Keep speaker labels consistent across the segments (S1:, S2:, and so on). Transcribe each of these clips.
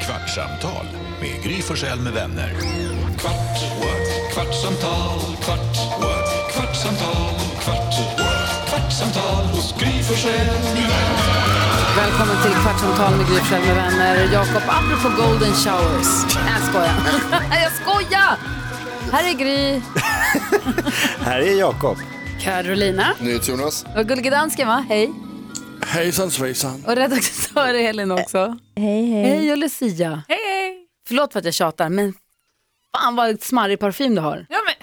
S1: Kvartsamtal med Gry Forssell med vänner.
S2: Kvart, what? kvartsamtal, kvart, what? kvartsamtal, kvart, what? kvartsamtal hos Gry Forssell med vänner.
S3: Välkommen till Kvartsamtal med Gry Forssell med vänner. Jakob, apropå golden showers. Nej, jag skojar. jag skojar! Här är Gry.
S4: Här är Jakob.
S3: Carolina.
S5: NyhetsJonas.
S3: Och gullige dansken, va? Hej.
S5: Hejsan svejsan.
S3: Och redaktör Elin också. Hej, hej. Hej och Lucia. Hej, hej. Förlåt för att jag tjatar, men fan vad smarrig parfym du har.
S6: Ja, men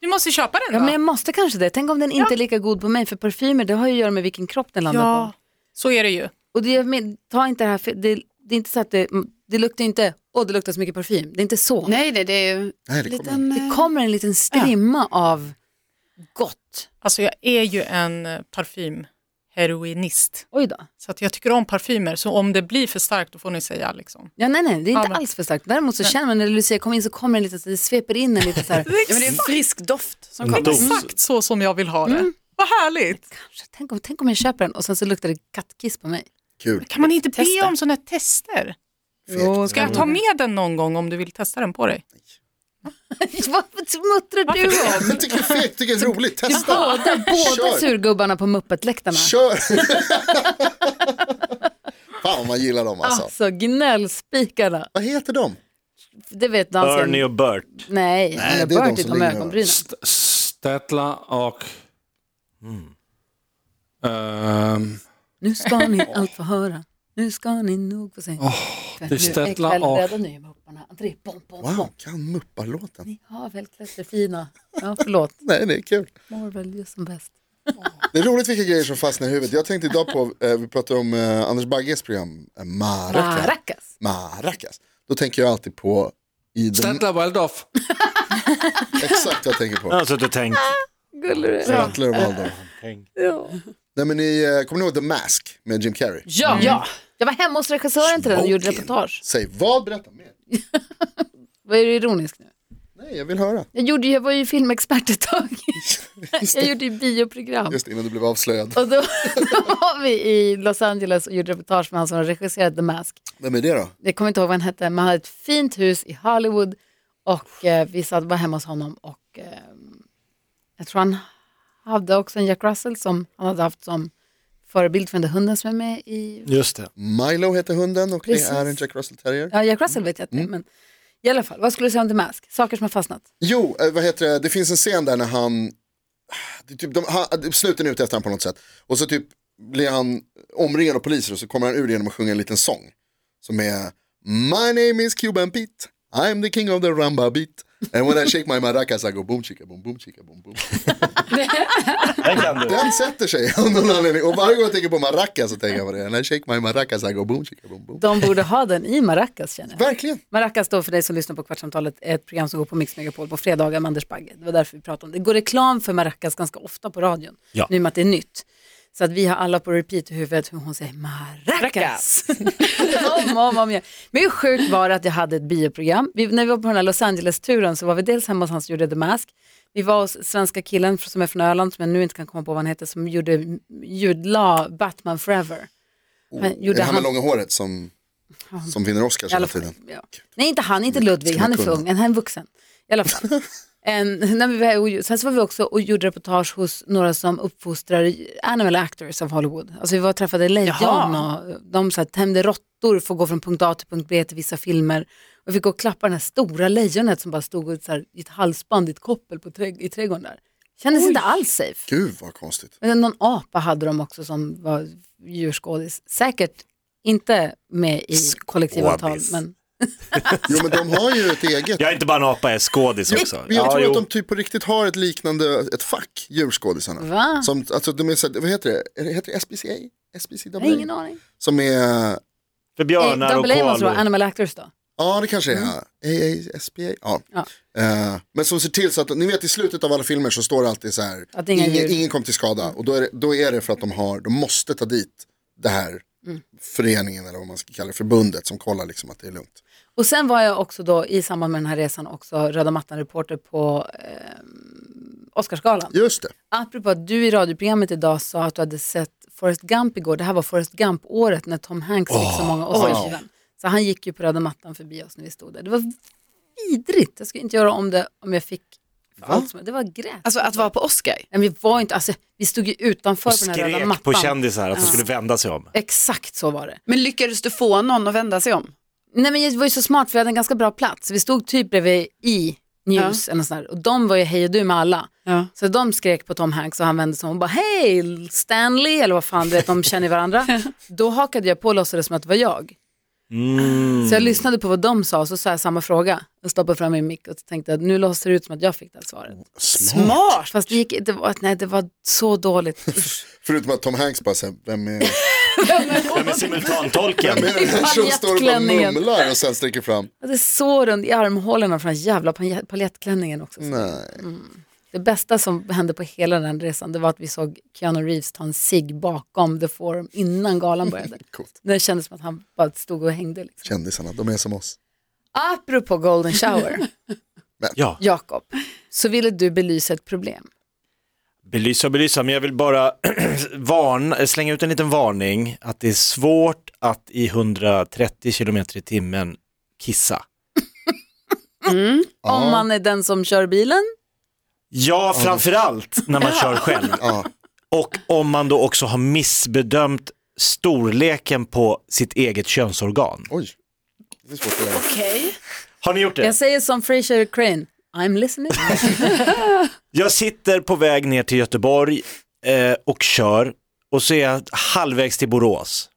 S6: du måste ju köpa den
S3: Ja,
S6: då.
S3: men jag måste kanske det. Tänk om den inte är lika god på mig, för parfymer det har ju att göra med vilken kropp den landar på.
S6: så är det ju.
S3: Och det, men, ta inte det här, för det, det är inte så att det, det luktar inte, åh det luktar så mycket parfym. Det är inte så.
S6: Nej, nej, det är ju...
S5: Nej, det kommer.
S3: Det kommer en liten strimma av gott.
S6: Alltså jag är ju en eh, parfymheroinist.
S3: Oj då.
S6: Så att jag tycker om parfymer, så om det blir för starkt då får ni säga liksom.
S3: Ja, nej, nej, det är inte
S6: men-
S3: alls för starkt. Däremot så känner man när Lucia kommer in så kommer en liten, så det sveper in en liten så här,
S7: Ja, men det är en frisk doft som kommer.
S4: Dos.
S6: Exakt så som jag vill ha det. Vad härligt!
S3: kanske, tänk, om, tänk om jag köper den och sen så luktar det kattkiss på mig.
S5: Kul.
S6: Kan man inte
S7: Testa.
S6: be om sådana här tester?
S5: Jo,
S6: Ska jag ta med den någon gång om du vill testa den på dig?
S3: Vad muttrar du om?
S5: Jag tycker det är fegt, tycker det är roligt. Testa.
S3: Båda, båda
S5: Kör.
S3: surgubbarna på muppetläktarna.
S5: Kör. Fan man gillar dem alltså.
S3: Alltså gnällspikarna.
S5: Vad heter de?
S3: Det vet dansken.
S4: Ernie och Bert.
S3: Nej, han har
S5: det är de
S3: bört
S5: som
S3: utom
S5: ligger
S3: ögonbrynen.
S8: St- Statler och... Hm. Ehm,
S3: Nu ska ni allt få höra. Nu ska ni nog få se.
S8: det är Statler och-
S3: Rädda nu mupparna. André, bom, bom, bom.
S5: Wow, kan Muppar-låten.
S3: Ni har väl klätterfina. Ja, förlåt.
S5: Nej, det är kul.
S3: Mår väl just som bäst.
S5: Det är roligt vilka grejer som fastnar i huvudet. Jag tänkte idag på, eh, vi pratade om eh, Anders Bagges program eh, Maracas.
S3: Maracas.
S5: Maracas. Då tänker jag alltid på i den,
S8: Statler Waldorf.
S5: exakt vad jag tänker
S4: Jag
S5: på.
S4: har suttit och tänkt.
S5: Rattler och Waldorf. Nej men ni, eh, kommer ni ihåg The Mask med Jim Carrey?
S3: Ja. ja, jag var hemma hos regissören till den och gjorde
S5: Smoking.
S3: reportage.
S5: Säg vad, berätta mer.
S3: Vad är du ironisk nu?
S5: Nej, jag vill höra.
S3: Jag, gjorde, ju- jag var ju filmexpert ett tag. Jag gjorde ju bioprogram.
S5: Just innan du blev avslöjad.
S3: Och då, då var vi i Los Angeles och gjorde reportage med han som har regisserat The Mask.
S5: Vem är det då?
S3: Jag kommer inte ihåg vad han hette, men han hade ett fint hus i Hollywood och eh, vi satt, var hemma hos honom och eh, jag tror han hade också en Jack Russell som han hade haft som förebild för den där hunden som är med i
S4: Just det.
S5: Milo heter hunden och
S3: Precis.
S5: det är en Jack Russell Terrier.
S3: Ja, Jack Russell vet jag att det är, men i alla fall, vad skulle du säga om The Mask? Saker som har fastnat.
S5: Jo, eh, vad heter det? Det finns en scen där när han, det är typ, de, han snuten är ute efter honom på något sätt. Och så typ blir han omringad av poliser och så kommer han ur det genom att sjunga en liten sång. Som är My name is Cuban Pete, I'm the king of the rumba beat. And when I shake my maracas I go boom chica boom boom chica boom boom.
S4: Den kan du.
S5: Den sätter sig av någon anledning. Och varje gång jag tänker på maracas så tänker jag på det. And I shake my maracas I go boom chica boom boom.
S3: De borde ha den i Maracas känner jag.
S5: Verkligen.
S3: Maracas då för dig som lyssnar på Kvartsamtalet är ett program som går på Mix Megapol på fredagar med Anders Bagge. Det var därför vi pratade om det. Det går reklam för Maracas ganska ofta på radion,
S4: Ja.
S3: nu i och med att det är nytt. Så att vi har alla på repeat i huvudet hur hon säger Maracas. om och om, och om igen. Men hur sjukt var det att jag hade ett bioprogram. Vi, när vi var på den här Los Angeles-turen så var vi dels hemma hos han som gjorde The Mask. Vi var hos svenska killen som är från Öland, som jag nu inte kan komma på vad han heter, som gjorde ljudla Batman Forever. Han
S5: Det
S3: gjorde
S5: är Oh, han med
S3: hans-
S5: långa håret som, som vinner Oscars
S3: i alla
S5: hela
S3: fall.
S5: tiden.
S3: Ja. Nej, inte han, inte Ludvig,
S5: Ska man
S3: han är för
S5: kunna?
S3: ung, han är vuxen. I alla fall. en, när vi var, och, sen så var vi också och gjorde reportage hos några som uppfostrar animal actors av Hollywood. Alltså vi var och träffade lejon och de så här, tämjde råttor för att gå från punkt A till punkt B till vissa filmer. Och vi fick gå och klappa det här stora lejonet som bara stod och, så här, i ett halsband i ett koppel på trädg- i trädgården där. Kändes inte alls safe.
S5: Gud vad konstigt.
S3: Men någon apa hade de också som var djurskådis. Säkert inte med i kollektivavtal.
S4: Skådis.
S3: Men...
S5: Jo men de har ju ett eget.
S4: Jag är inte bara en apa, jag är skådis också.
S5: Men jag tror
S4: jo.
S5: att de typ på riktigt har ett liknande, ett fack, djurskådisarna.
S3: Va?
S5: Som, alltså de är så här, vad heter det, Är det- heter det SPCA? SPCA?
S3: Jag har ingen aning.
S5: Som är,
S4: För
S5: Eh,
S4: björnar och
S3: Double A måste det vara,
S4: koalor.
S3: Animal Actors då.
S5: ja det kanske är AASPA, ja.
S3: Mm. Ja.
S5: Eh, men som ser till så att, ni vet i slutet av alla filmer så står det alltid så här,
S3: Att inga
S5: ingen,
S3: djur- Mm.
S5: ingen kom till skada. Och då är, det, då är det för att de har, de måste ta dit det här
S3: Mm.
S5: föreningen eller vad man ska kalla det, förbundet som kollar liksom att det är lugnt.
S3: Och sen var jag också då i samband med den här resan också röda mattan-reporter på eh, Oscarsgalan.
S5: Just det.
S3: Apropå att du i radioprogrammet idag sa att du hade sett Forrest Gump igår. Det här var Forrest Gump-året när Tom Hanks fick så många Oscarsgivaren. Så han gick ju på röda mattan förbi oss när vi stod där. Det var vidrigt. Jag skulle inte göra om det om jag fick allt som, Det var gräs.
S7: Alltså att vara på Oscar.
S3: Nej, vi var inte, alltså, vi stod ju utanför
S4: Och
S3: på den här röda
S4: skrek
S3: mattan.
S4: på kändisar att de skulle vända sig om.
S3: Exakt så var det.
S7: Men lyckades du få någon att vända sig om?
S3: Nej men jag var ju så smart för jag hade en ganska bra plats. Vi stod typ bredvid i News eller något sånt där. och de var ju hej och du med alla.
S7: Ja.
S3: Så de skrek på Tom Hanks och han vände sig om och bara hej Stanley eller vad fan du vet de känner varandra. Då hakade jag på och låtsades som att det var jag. Så jag lyssnade på vad de sa och så sa jag samma fråga. Jag stoppade fram min mick och tänkte att nu låtsas det ut som att jag fick det här svaret.
S7: Smart!
S3: Fast det, gick, det, var, nej, det var så dåligt. Usch.
S5: Förutom att Tom Hanks bara säger, vem är
S4: Nej, men simultantolken.
S5: vem är den här som står och bara
S3: Paljettklänningen.
S5: mumlar och sen sträcker fram?
S3: Jag hade såren i armhålorna från den jävla palje- paljettklänningen också.
S5: Nej.
S3: mm. Det bästa som hände på hela den resan det var att vi såg Keanu Reeves ta en cigg bakom The Forum innan galan började.
S5: Coolt.
S3: Det kändes som att han bara stod och hängde. Liksom.
S5: Kändisarna, de är som oss.
S3: Apropå golden shower,
S4: Ja,
S3: Jakob, så ville du belysa ett problem.
S4: belysa och belysa, men jag vill bara varn, slänga ut en liten varning att det är svårt att i 130 km i timmen kissa.
S3: Om man är den som kör bilen.
S4: Ja, framförallt när man kör själv.
S5: Ja.
S4: Och om man då också har missbedömt storleken på sitt eget könsorgan.
S5: Oj. Det är svårt att göra.
S7: Okej.
S4: Har ni gjort det?
S3: Jag säger som Fraser Crane, I'm listening.
S4: Jag sitter på väg ner till Göteborg eh, och kör och så är jag halvvägs till Borås.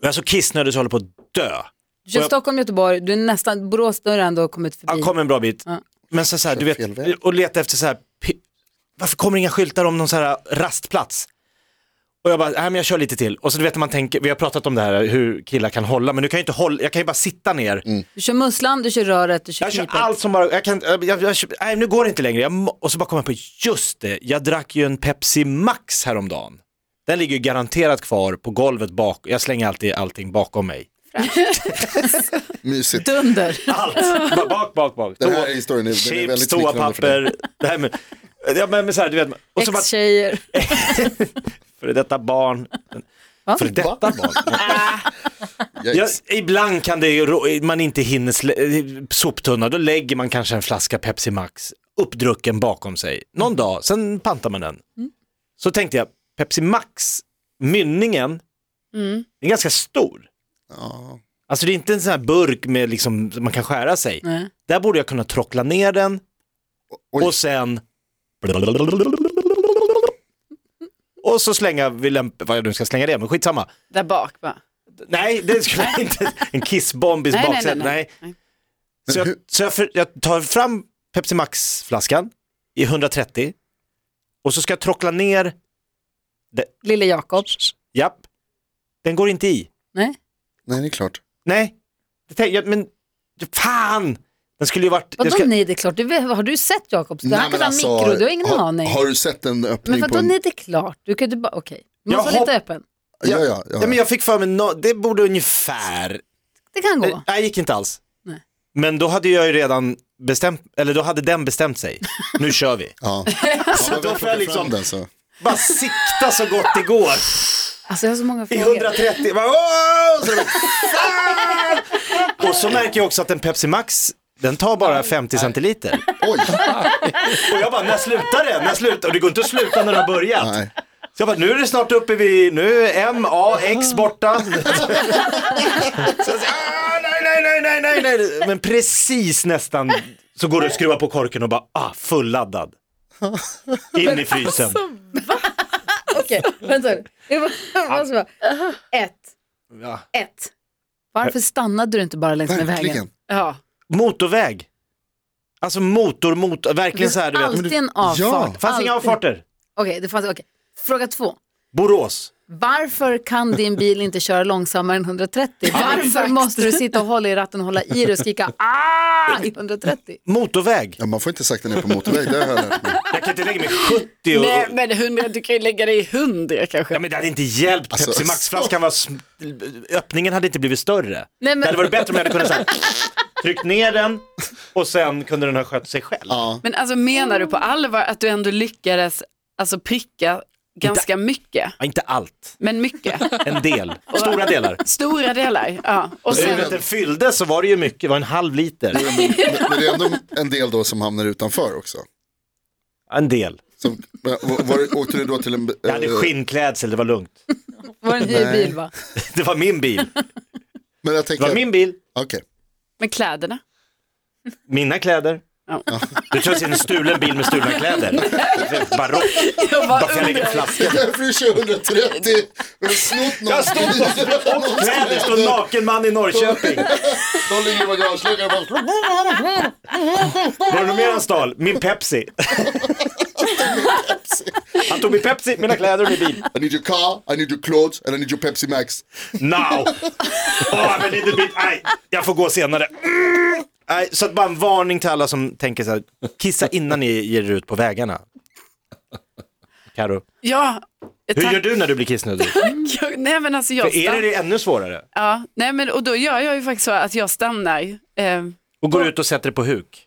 S4: Jag är så kissnödig så jag håller på att dö.
S3: Du kör
S4: Och jag-
S3: Stockholm, Göteborg, du är nästan, Borås, då har du ändå kommit förbi.
S4: Jag kom en bra bit.
S3: Ja.
S4: Men så, så här, du
S5: Fel
S4: vet,
S5: väg.
S4: och leta efter så här, pi- varför kommer inga skyltar om någon så här rastplats? Och jag bara, nej men jag kör lite till. Och så du vet när man tänker, vi har pratat om det här hur killar kan hålla, men du kan ju inte hålla, jag kan ju bara sitta ner.
S3: Du kör musslan, du kör röret, du kör
S4: Jag kör
S3: knipet.
S4: allt som bara, jag kan, jag, jag, jag, nej nu går det inte längre. Jag, må- och så bara kommer jag på, just det, jag drack ju en Pepsi Max häromdagen. Den ligger ju garanterat kvar på golvet bak, jag slänger alltid allting bakom mig.
S5: Mysigt.
S7: Dunder.
S4: Allt, bara bak, bak, bak.
S5: Den här
S4: Toa-
S5: historien är- den är
S4: Chips,
S5: väldigt smickrande för dig.
S4: toapapper, det här med, ja men, men så här, du vet, och så bara,
S3: Ex-tjejer.
S4: för detta barn. För detta barn? Ja,
S5: Yikes.
S4: ibland kan det ju, rå- man inte hinner slä- soptunna, då lägger man kanske en flaska Pepsi Max uppdrucken bakom sig. Någon dag, sen pantar man den. Så tänkte jag, Pepsi Max, mynningen, är ganska stor.
S5: Ja.
S4: Alltså det är inte en sån här burk med liksom, man kan skära sig.
S3: Nej.
S4: Där borde jag kunna trockla ner den
S5: Oj.
S4: och sen... Och så slänga vid lämp- vad jag nu ska slänga det, men skitsamma.
S7: Där bak bara.
S4: Nej, det skulle jag inte. En kissbomb i
S7: Nej, nej, nej,
S4: baksätet. Nej,
S7: nej. Nej.
S4: Så, jag,
S5: hur-
S4: så jag, för, jag tar fram Pepsi Max-flaskan i 130 och så ska jag trockla ner,
S3: Lille Jakob.
S4: japp, den går inte i.
S3: Nej.
S5: Nej, det är klart.
S4: Nej, det tänk, jag, men fan! Den skulle ju varit...
S3: Vadå
S4: jag ska-
S3: nej det är klart, du, vet- har du sett Jakob? Du
S5: Nej,
S3: har
S5: men
S3: kunnat
S5: alltså,
S3: mikro, du har ingen
S5: har,
S3: aning.
S5: Har du sett en
S3: Men
S5: öppning på
S3: vadå
S5: en...
S3: nej det är klart, du kan ju bara, okej. Du
S4: Jag
S3: måste vara lite
S4: hopp-
S3: öppen.
S5: Ja, ja, ja.
S4: Ja, men jag fick för mig, nå- det borde ungefär
S3: Det kan gå.
S4: Nej, Nej, gick inte alls.
S3: Nej.
S4: Men då hade jag ju redan bestämt, eller då hade den bestämt sig. Nu kör vi.
S5: Ja. Ja, men
S4: då
S5: väl
S4: får
S5: plocka
S4: jag liksom-
S5: fram Den, så.
S4: Bara sikta så gott det går.
S3: Alltså jag har så många
S4: I
S3: frågor.
S4: 130, bara, åh! Så det bara, fan! Och så märker jag också att en Pepsi Max, den tar bara 50 centiliter.
S5: Oj,
S4: Och jag bara, när slutar det? När slutar? Och det går inte att sluta när det har börjat.
S5: nej.
S4: Så jag bara, nu är det snart uppe vid, nu är M, A, X borta. Så jag säger, "Ah, nej, nej, nej, nej, nej, nej. Men precis nästan så går det att skruva på korken och bara, ah, fulladdad. In i frysen.
S3: Okej, vänta. Jag bara- måste bara- Ett,
S4: Ja.
S3: ett. Varför stannade du inte bara längs med vägen?
S5: Verkligen.
S7: Ja.
S4: Motorväg. Alltså motor, motor, verkligen så här du vet.
S3: Alltid en avfart.
S5: Ja.
S4: Det fanns inga
S3: Alltid.
S4: avfarter.
S3: Okej, det fanns, okej. Fråga två.
S4: Borås.
S3: Varför kan din bil inte köra långsammare än 130? Varför måste du sitta och hålla i ratten och hålla i dig och skrika ah i 130?
S4: Motorväg.
S5: Ja, man får inte sakta ner på motorväg, det har jag lärt mig.
S4: Jag kan inte lägga mig 70 och...
S7: Nej, men hundra, du kan ju lägga dig i hundra kanske.
S4: Ja, men det hade inte hjälpt.
S5: Alltså-
S4: Pepsi Max-flaskan var... sm- Öppningen hade inte blivit större.
S3: men-
S4: Det hade varit bättre om jag hade kunnat så här, tryckt ner den och sen kunde den ha skött sig själv.
S5: Ja.
S7: Men alltså menar du på allvar att du ändå lyckades alltså, pricka ganska mycket,
S4: Ja, inte allt,
S7: men mycket.
S4: en del. Stora delar.
S7: Stora delar. Ja. Och
S4: Så
S7: sen,
S4: att den fyllde så var det ju mycket, det var en halv liter.
S5: Men, men det är ändå en del då som hamnar utanför också.
S4: En del.
S5: Som, var, var, åkte du då till en...
S4: Jag hade
S5: eh,
S4: skinnklädsel, det var lugnt.
S3: Var det en
S5: Nej.
S3: dyr bil va?
S4: Det var min bil.
S5: eh, men jag
S4: Det var
S5: tänker,
S4: min bil,
S5: okej.
S7: med kläderna.
S4: mina kläder.
S7: Ja.
S4: Du tror att det är en stulen bil med stulna kläder. Barock. Bara för att jag lägger flaskan.
S5: Därför 2030, har du snott någon?
S4: Jag har snott Och kläder står naken man i Norrköping.
S5: De ligger i bagageluckan och bara...
S4: Var det något mer han stal? Min Pepsi. Han tog min Pepsi, mina kläder och min bil.
S5: I need your car, I need your clothes and I need your Pepsi Max.
S4: Now! Oh, men lite bit. Nej, jag får gå senare. Mm. Nej, så att bara en varning till alla som tänker så här, kissa innan ni ger er ut på vägarna. Karo,
S7: Ja,
S4: hur
S7: tack.
S4: gör du när du blir kissnödig?
S7: Jag, nej men alltså jag
S4: För er är
S7: stannar.
S4: det ännu svårare.
S7: Ja, nej men och då gör jag ju faktiskt så att jag stannar. Eh,
S4: Och går ut och sätter dig på huk.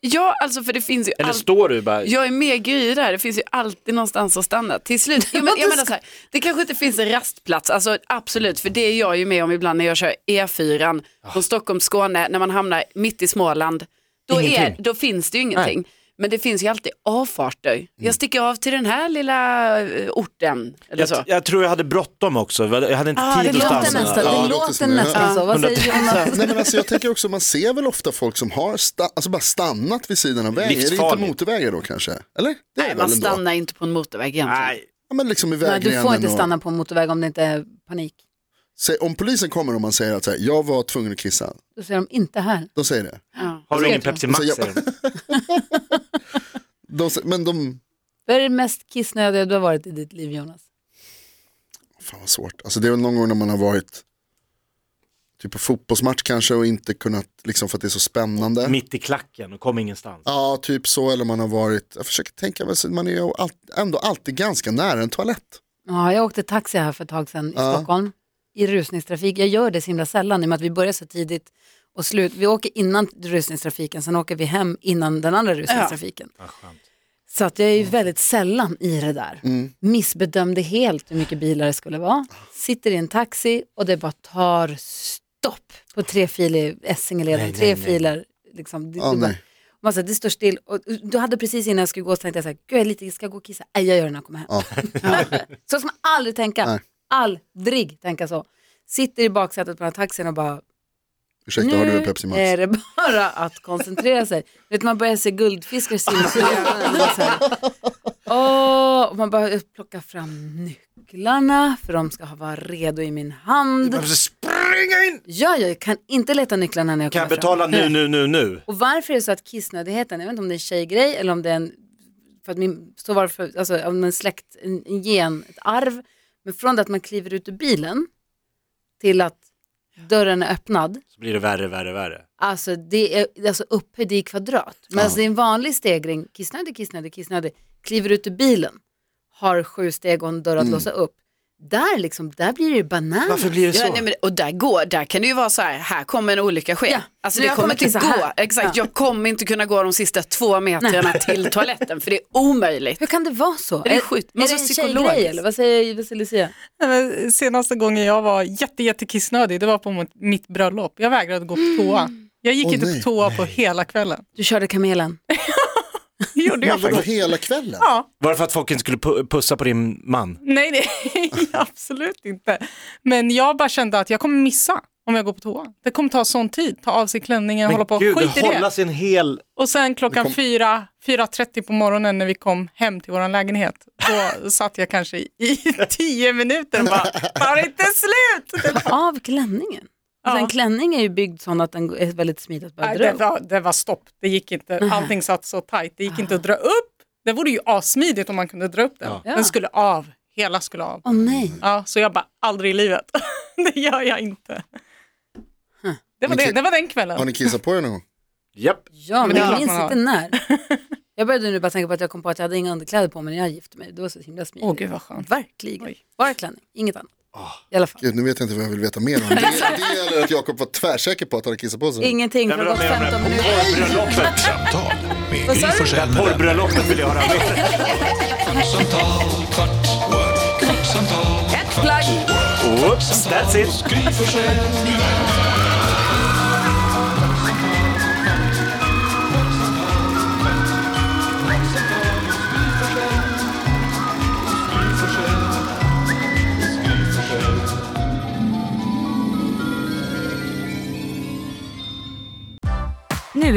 S7: ja, alltså för det finns ju
S4: Eller
S7: alltid.
S4: står du bara,
S7: Jag är med Gry där, det finns ju alltid någonstans att stanna. Till slut, jag, men, jag menar så här, det kanske inte finns en rastplats, alltså absolut, för det är jag ju med om ibland när jag kör E4
S4: Ah.
S7: från Stockholm, Skåne, när man hamnar mitt i Småland, då, är,
S4: Ingenting.
S7: då finns det ju ingenting. Men det finns ju alltid avfarter. Jag sticker av till den här lilla eh, orten. Eller så.
S4: Mm. jag, jag tror jag hade bråttom också, jag hade inte
S7: Ah,
S4: tid
S7: det
S4: att
S3: Låter
S4: stanna.
S3: nästan,
S5: Ja,
S3: det
S5: det låter
S3: låter
S5: som det.
S3: nästan så. Vad säger Jonas?
S5: Nej, men alltså, jag tänker också, man ser väl ofta folk som har sta- alltså, bara stannat vid sidan av vägen. Är det inte
S4: Livsfarligt.
S5: motorvägar då kanske? Eller? Det är
S7: Nej,
S5: väl
S7: man
S5: ändå.
S7: stannar inte på en motorväg egentligen.
S4: Nej,
S5: Ja, men liksom i
S3: Nej, du får
S5: vägrenen
S3: inte
S5: och-
S3: stanna på en motorväg om det inte är panik.
S5: Sä- Om polisen kommer och man säger att så här, jag var tvungen att kissa,
S3: Då säger de inte här.
S5: de säger det.
S7: Ja.
S4: har du ingen
S3: Vet jag.
S4: Pepsi Max?
S5: Så jag-
S4: säger de.
S5: De, sä- men de,
S3: Vad är det mest kissnödiga du har varit i ditt liv Jonas?
S5: fan vad svårt. Alltså, det är väl någon gång när man har varit typ på fotbollsmatch kanske och inte kunnat, liksom för att det är så spännande.
S4: Mitt i klacken och kom ingenstans.
S5: Ja, typ så, eller man har varit, jag försöker tänka, men så- man är ju all, ändå alltid ganska nära en toalett.
S3: Ja, jag åkte taxi här för ett tag sedan i
S5: Ja.
S3: Stockholm i rusningstrafik. Jag gör det så himla sällan i och med att vi börjar så tidigt och slut. Vi åker innan rusningstrafiken, sen åker vi hem innan den andra rusningstrafiken. Så att jag är ju väldigt sällan i det där.
S5: Mm.
S3: Missbedömde helt hur mycket bilar det skulle vara. Sitter i en taxi och det bara tar stopp på trefilig Essingeleden, tre filer. Liksom. Det,
S5: Ja,
S3: det bara-
S5: nej.
S3: man sa, det står still. Och du hade precis innan jag skulle gå så tänkte jag så här, gud jag är lite, jag ska gå och kissa. Nej jag gör det när jag kommer hem.
S5: Ja.
S3: så ska man aldrig tänka.
S5: Nej.
S3: Aldrig tänka så. Sitter i baksätet på den här taxin och bara,
S5: Ursäkta, har du en Pepsi Max?
S3: är det bara att koncentrera sig. Du vet, man börjar se guldfiskar simma för ögonen. och så här. Åh, och man bara plocka fram nycklarna för de ska ha- vara redo i min hand.
S4: Jag måste springa in!
S3: Ja, jag kan inte leta nycklarna när jag
S4: Kan
S3: kommer
S4: jag betala
S3: fram.
S4: nu, nu, nu, nu?
S3: Och varför är det så att kissnödigheten, jag vet inte om det är en tjejgrej eller om det är en, för att min, så var det för, alltså om en släkt, en, en gen, ett arv. Men från det att man kliver ut ur bilen till att dörren är öppnad,
S4: Så blir det värre, värre, värre.
S3: alltså det är alltså upphöjd i kvadrat. Men alltså det är en vanlig stegring, kissnödig, kissnödig, kissnödig, kliver ut ur bilen, har sju steg och en dörr att låsa upp. Där liksom, där blir det ju banan.
S4: Varför blir det så?
S7: Ja, nej, men, och där, går, där kan det ju vara så här, här kommer en olycka ske.
S3: Ja,
S7: alltså,
S3: nu
S7: det
S3: jag
S7: kommer,
S3: kommer
S7: inte
S3: kissa
S7: gå.
S3: här.
S7: Exakt, jag kommer inte kunna gå de sista två metrarna till toaletten för det är omöjligt.
S3: Hur kan det vara så?
S7: det sjukt?
S3: Är, är
S7: Måste
S3: det en
S7: psykolog-
S3: tjejgrej eller vad säger, vad säger Lucia?
S6: Nej, men Senaste gången jag var jätte, jätte kissnödig, det var på mot- mitt bröllop. Jag vägrade gå på toa. Jag gick
S5: Åh,
S6: inte
S5: nej.
S6: på toa på hela kvällen.
S3: Du körde kamelen.
S6: Det gjorde jag
S5: Vadå,
S6: faktiskt.
S5: hela kvällen?
S6: Ja,
S4: Var det för att folk inte skulle pu- pussa på din man?
S6: nej, nej, absolut inte. Men jag bara kände att jag kommer missa om jag går på toa. Det kommer ta sån tid, ta av sig klänningen, hålla på, skit i det.
S4: hålla sig en hel...
S6: Och sen klockan
S5: kom-
S6: fyra, 4.30 på morgonen när vi kom hem till vår lägenhet, då satt jag kanske i, i tio minuter och bara, tar det inte slut? Det,
S3: av klänningen.
S6: Ja.
S3: Alltså en klänning är ju byggd sån att den är väldigt smidig att bara
S6: nej,
S3: dra
S6: det,
S3: upp.
S6: var, det var stopp, det gick inte. Allting satt så tajt, det gick inte att dra upp. Det vore ju assmidigt om man kunde dra upp den.
S4: Ja.
S6: Den skulle av, hela skulle av.
S3: Åh nej,
S6: Ja, så jag bara, aldrig i livet. det gör jag inte. Det var,
S5: Men
S6: det,
S5: ki-
S6: det var den
S5: Har
S6: kvällen.
S5: ni kissat på er någon gång?
S4: Japp.
S3: ja, men
S6: Men det är
S3: jag
S6: klart
S3: minns
S6: man
S3: inte när. Jag började nu bara tänka på att jag kom på att jag hade inga underkläder på mig när jag gifte mig. Det var så himla smidigt.
S6: Åh gud vad skönt.
S3: Verkligen.
S6: Oj.
S3: Bara klänning, inget annat. I alla fall.
S5: Gud, nu vet jag inte vad jag vill veta mer om. Det, det eller att Jakob var tvärsäker på att han hade kissat på sig.
S3: Ingenting,
S4: Jag
S3: för
S4: vill
S3: det
S4: ha
S3: gått
S4: mer om det
S3: 15
S1: Kvartsamtal
S3: minuter.
S4: porrbröllopet.
S1: med Gry Forssell med vänner.
S4: Porrbröllopet vill jag höra mer.
S2: Kvartsamtal, kvart, what?
S4: Oops, that's it.
S2: Gry Forssell med vänner.
S9: Nu